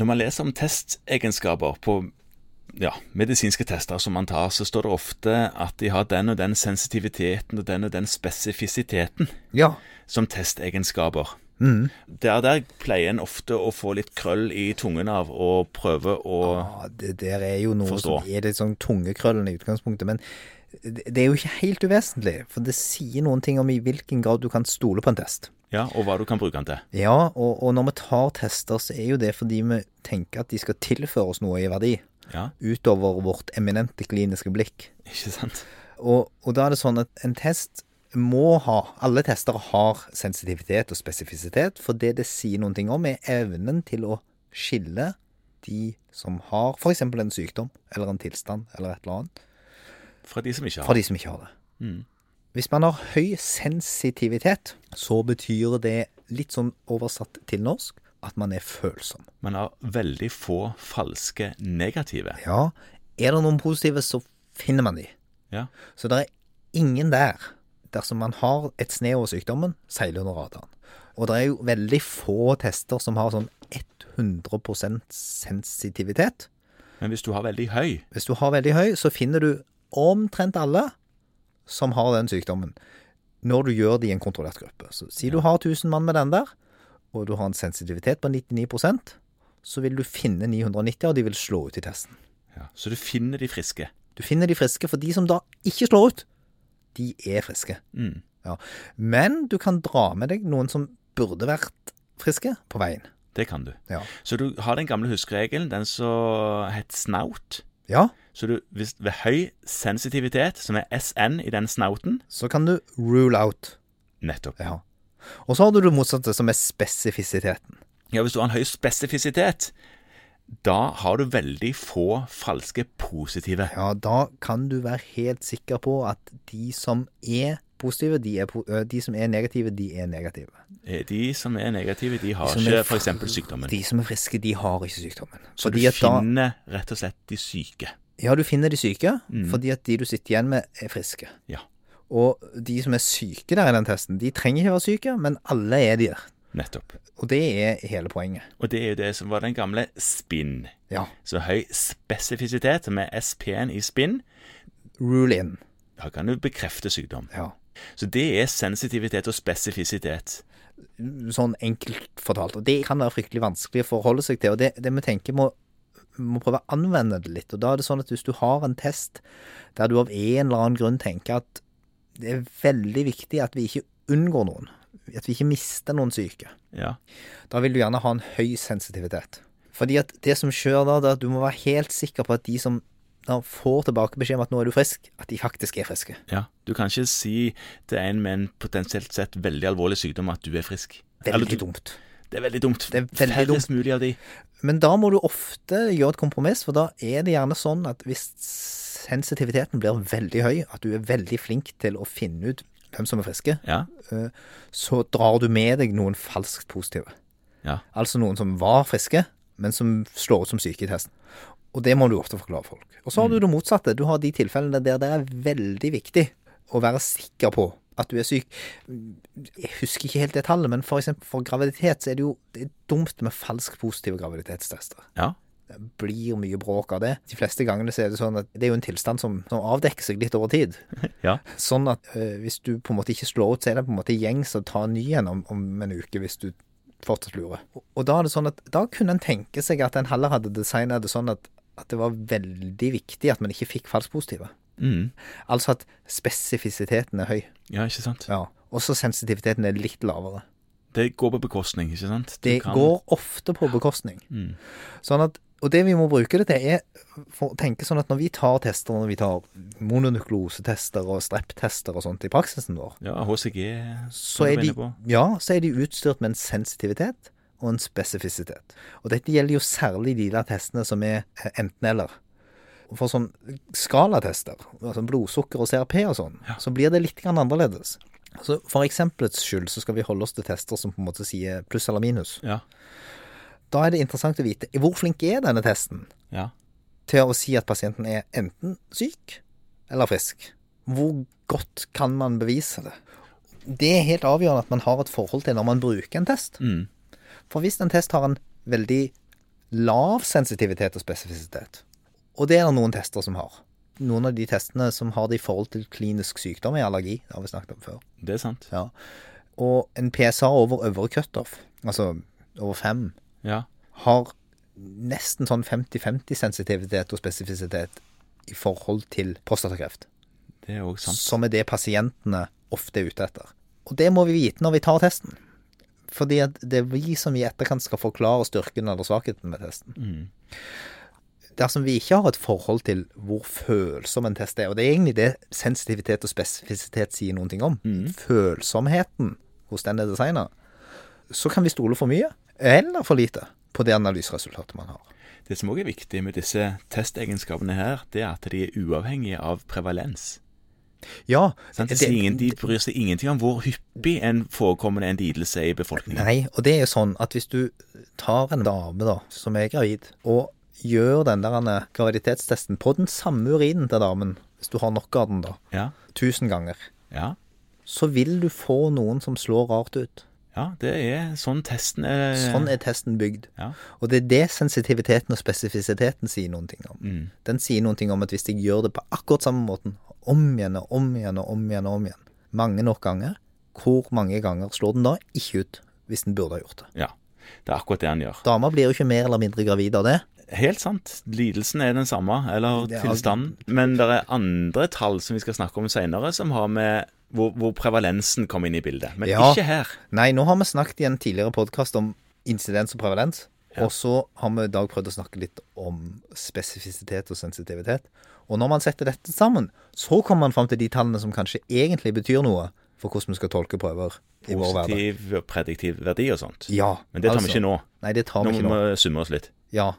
Når man leser om testegenskaper på ja, medisinske tester som man tar, så står det ofte at de har den og den sensitiviteten og den og den spesifisiteten Ja. som testegenskaper. Der, der pleier en ofte å få litt krøll i tungen av og prøve å Ja, det der er jo noe Forstå. som er litt sånn tungekrøllende i utgangspunktet, men det det er jo ikke helt uvesentlig, for det sier noen ting om i hvilken grad du kan stole på en test. Ja, og hva du kan bruke den til. Ja, og, og når vi tar tester, så er jo det fordi vi tenker at de skal tilføre oss noe i verdi, Ja, utover vårt eminente kliniske blikk. ikke sant? Og, og da er det sånn at en test må ha Alle tester har sensitivitet og spesifisitet, for det det sier noen ting om, er evnen til å skille de som har f.eks. en sykdom eller en tilstand eller et eller annet, Fra de som ikke fra har. de som ikke har det. Hvis man har høy sensitivitet, så betyr det litt sånn oversatt til norsk at man er følsom. Man har veldig få falske negative. Ja, er det noen positive, så finner man de. Ja, Så det er ingen der. Dersom man har et snev av sykdommen, seiler under radaren. Og det er jo veldig få tester som har sånn 100 sensitivitet. Men hvis du har veldig høy Hvis du har veldig høy, så finner du omtrent alle som har den sykdommen, når du gjør det i en kontrollert gruppe. Så si du har 1000 mann med den der, og du har en sensitivitet på 99 så vil du finne 990, og de vil slå ut i testen. ja. Så du finner de friske. Du finner de friske, for de som da ikke slår ut, de er friske. Mm. Ja. Men du kan dra med deg noen som burde vært friske, på veien. Det kan du. Ja. Så du har den gamle huskeregelen, den som het snaut. ja. Så du, hvis, ved høy sensitivitet, som er SN i den snauten Så kan du rule out. Nettopp. Ja. Og så har du det motsatte, som er spesifisiteten. Ja, hvis du har en høy spesifisitet, da har du veldig få falske positive. Ja, da kan du være helt sikker på at de som er positive, de, er po ø, de som er negative, de er negative. Eh, De som er negative, de har De som er ikke f.eks. sykdommen. De som er friske, de har ikke sykdommen. Så du Fordi at da, finner rett og slett de syke. ja, du finner de syke, Mm. fordi at de du sitter igjen med, er friske. Ja, Og de som er syke der i den testen, de trenger ikke være syke, men alle er de der. nettopp. Og det er hele poenget. Og det er jo det som var den gamle spinn. Ja. Så høy spesifisitet, som er SP-en i spinn, Rule in. da kan du bekrefte sykdom. Ja. Så det er sensitivitet og spesifisitet. Sånn enkelt fortalt. Og det kan være fryktelig vanskelig å forholde seg til. Og det, det vi tenker må, må prøve å anvende det litt. Og da er det sånn at hvis du har en test der du av en eller annen grunn tenker at det er veldig viktig at vi ikke unngår noen, at vi ikke mister noen syke, Ja, da vil du gjerne ha en høy sensitivitet. Fordi at det som skjer da, det er at du må være helt sikker på at de som da får tilbake beskjed om at nå er du frisk, at de faktisk er friske. ja. Du kan ikke si til en med en potensielt sett veldig alvorlig sykdom at du er frisk. Eller Veldig du- dumt. Det er veldig dumt. Det er veldig Færrest mulig av de. Men da må du ofte gjøre et kompromiss, for da er det gjerne sånn at hvis sensitiviteten blir veldig høy, at du er veldig flink til å finne ut hvem som er friske, Ja, så drar du med deg noen falskt positive. ja. Altså noen som var friske, men som slår ut som syke i testen. Og det må du ofte forklare folk. Og så har du det motsatte. Du har de tilfellene der det er veldig viktig å være sikker på at du er syk. Jeg husker ikke helt det tallet, men for eksempel for graviditet så er det jo det er dumt med falskt positive graviditetstester ja. blir mye bråk av det. De fleste gangene så er det sånn at det er jo en tilstand som, som avdekker seg litt over tid. ja. Sånn at eh, hvis du på en måte ikke slår ut, så er det på en måte gjengs å ta en ny igjen om, om en uke hvis du fortsatt lurer. Og, og da er det sånn at da kunne en tenke seg at en heller hadde designet det sånn at, at det var veldig viktig at man ikke fikk falskt positive. Mm. Altså at spesifisiteten er høy, Ja, ikke sant. ja. og så sensitiviteten er litt lavere. Det går på bekostning, ikke sant? Du Det kan- Mm. går ofte på bekostning. Sånn at, og det vi må bruke det til, er for å tenke sånn at når vi tar tester, når vi tar mononukleosetester og streptester og sånt i praksisen vår, Ja, HCG så er, de, ja, så er de utstyrt med en sensitivitet og en spesifisitet. Og dette gjelder jo særlig de der testene som er eh, enten-eller. For sånn skalatester, altså blodsukker og CRP og sånn, så blir det litt grann annerledes. Så for eksempelets skyld så skal vi holde oss til tester som på en måte sier pluss eller minus. Ja, Da er det interessant å vite hvor flink er denne testen ja. til å si at pasienten er enten syk eller frisk. Hvor godt kan man bevise det? Det er helt avgjørende at man har et forhold til når man bruker en test. Mm. For hvis en test har en veldig lav sensitivitet og spesifisitet. Og det er det noen tester som har. Noen av de testene som har det i forhold til klinisk sykdom er allergi. Det har vi snakket om før. Det er sant. Ja. Og en PSA over øvre cutoff, altså over fem, Ja. har nesten sånn 50-50 sensitivitet og spesifisitet i forhold til prostatakreft. Det er òg sant. Som er det pasientene ofte er ute etter. Og det må vi vite når vi tar testen. Fordi at det er vi som i etterkant skal forklare styrken eller svakheten med testen. Mm. Dersom vi ikke har et forhold til hvor følsom en test er, og det er egentlig det sensitivitet og spesifisitet sier noen ting om, Mm. følsomheten hos den er designa, så kan vi stole for mye eller for lite på det analyseresultatet man har. Det som òg er viktig med disse testegenskapene her, det er at de er uavhengige av prevalens. Ja, Sant? De, det- sier ingen, de bryr seg ingenting om hvor hyppig en forekommende en lidelse er i befolkningen. Nei, og det er jo sånn at hvis du tar en dame da, som er gravid, og gjør den der ene graviditetstesten på den samme urinen til damen, hvis du har nok av den da, Ja, tusen ganger, ja, så vil du få noen som slår rart ut. ja, det er sånn testen er Sånn er testen bygd. Ja. Og det er det sensitiviteten og spesifisiteten sier noen ting om. Den sier noen ting om at hvis jeg gjør det på akkurat samme måten, om igjen og om igjen og om igjen og om igjen, mange nok ganger, hvor mange ganger slår den da ikke ut hvis den burde ha gjort det? Ja, det er akkurat det han gjør. Damer blir jo ikke mer eller mindre gravid av det. Helt sant. Lidelsen er den samme, eller Det er- tilstanden. Men det er andre tall som vi skal snakke om seinere, som har med hvor, hvor prevalensen kommer inn i bildet. Men Ja. ikke her. Nei, nå har vi snakket i en tidligere podkast om incidens og prevalens. Og så har vi i dag prøvd å snakke litt om spesifisitet og sensitivitet. Og når man setter dette sammen, så kommer man fram til de tallene som kanskje egentlig betyr noe for hvordan vi skal tolke prøver i vår hverdag. Positiv og prediktiv verdi og sånt. Ja, altså. Men det tar vi ikke nå. Nei, det tar Nå vi ikke må nå. vi summe oss litt. Ja.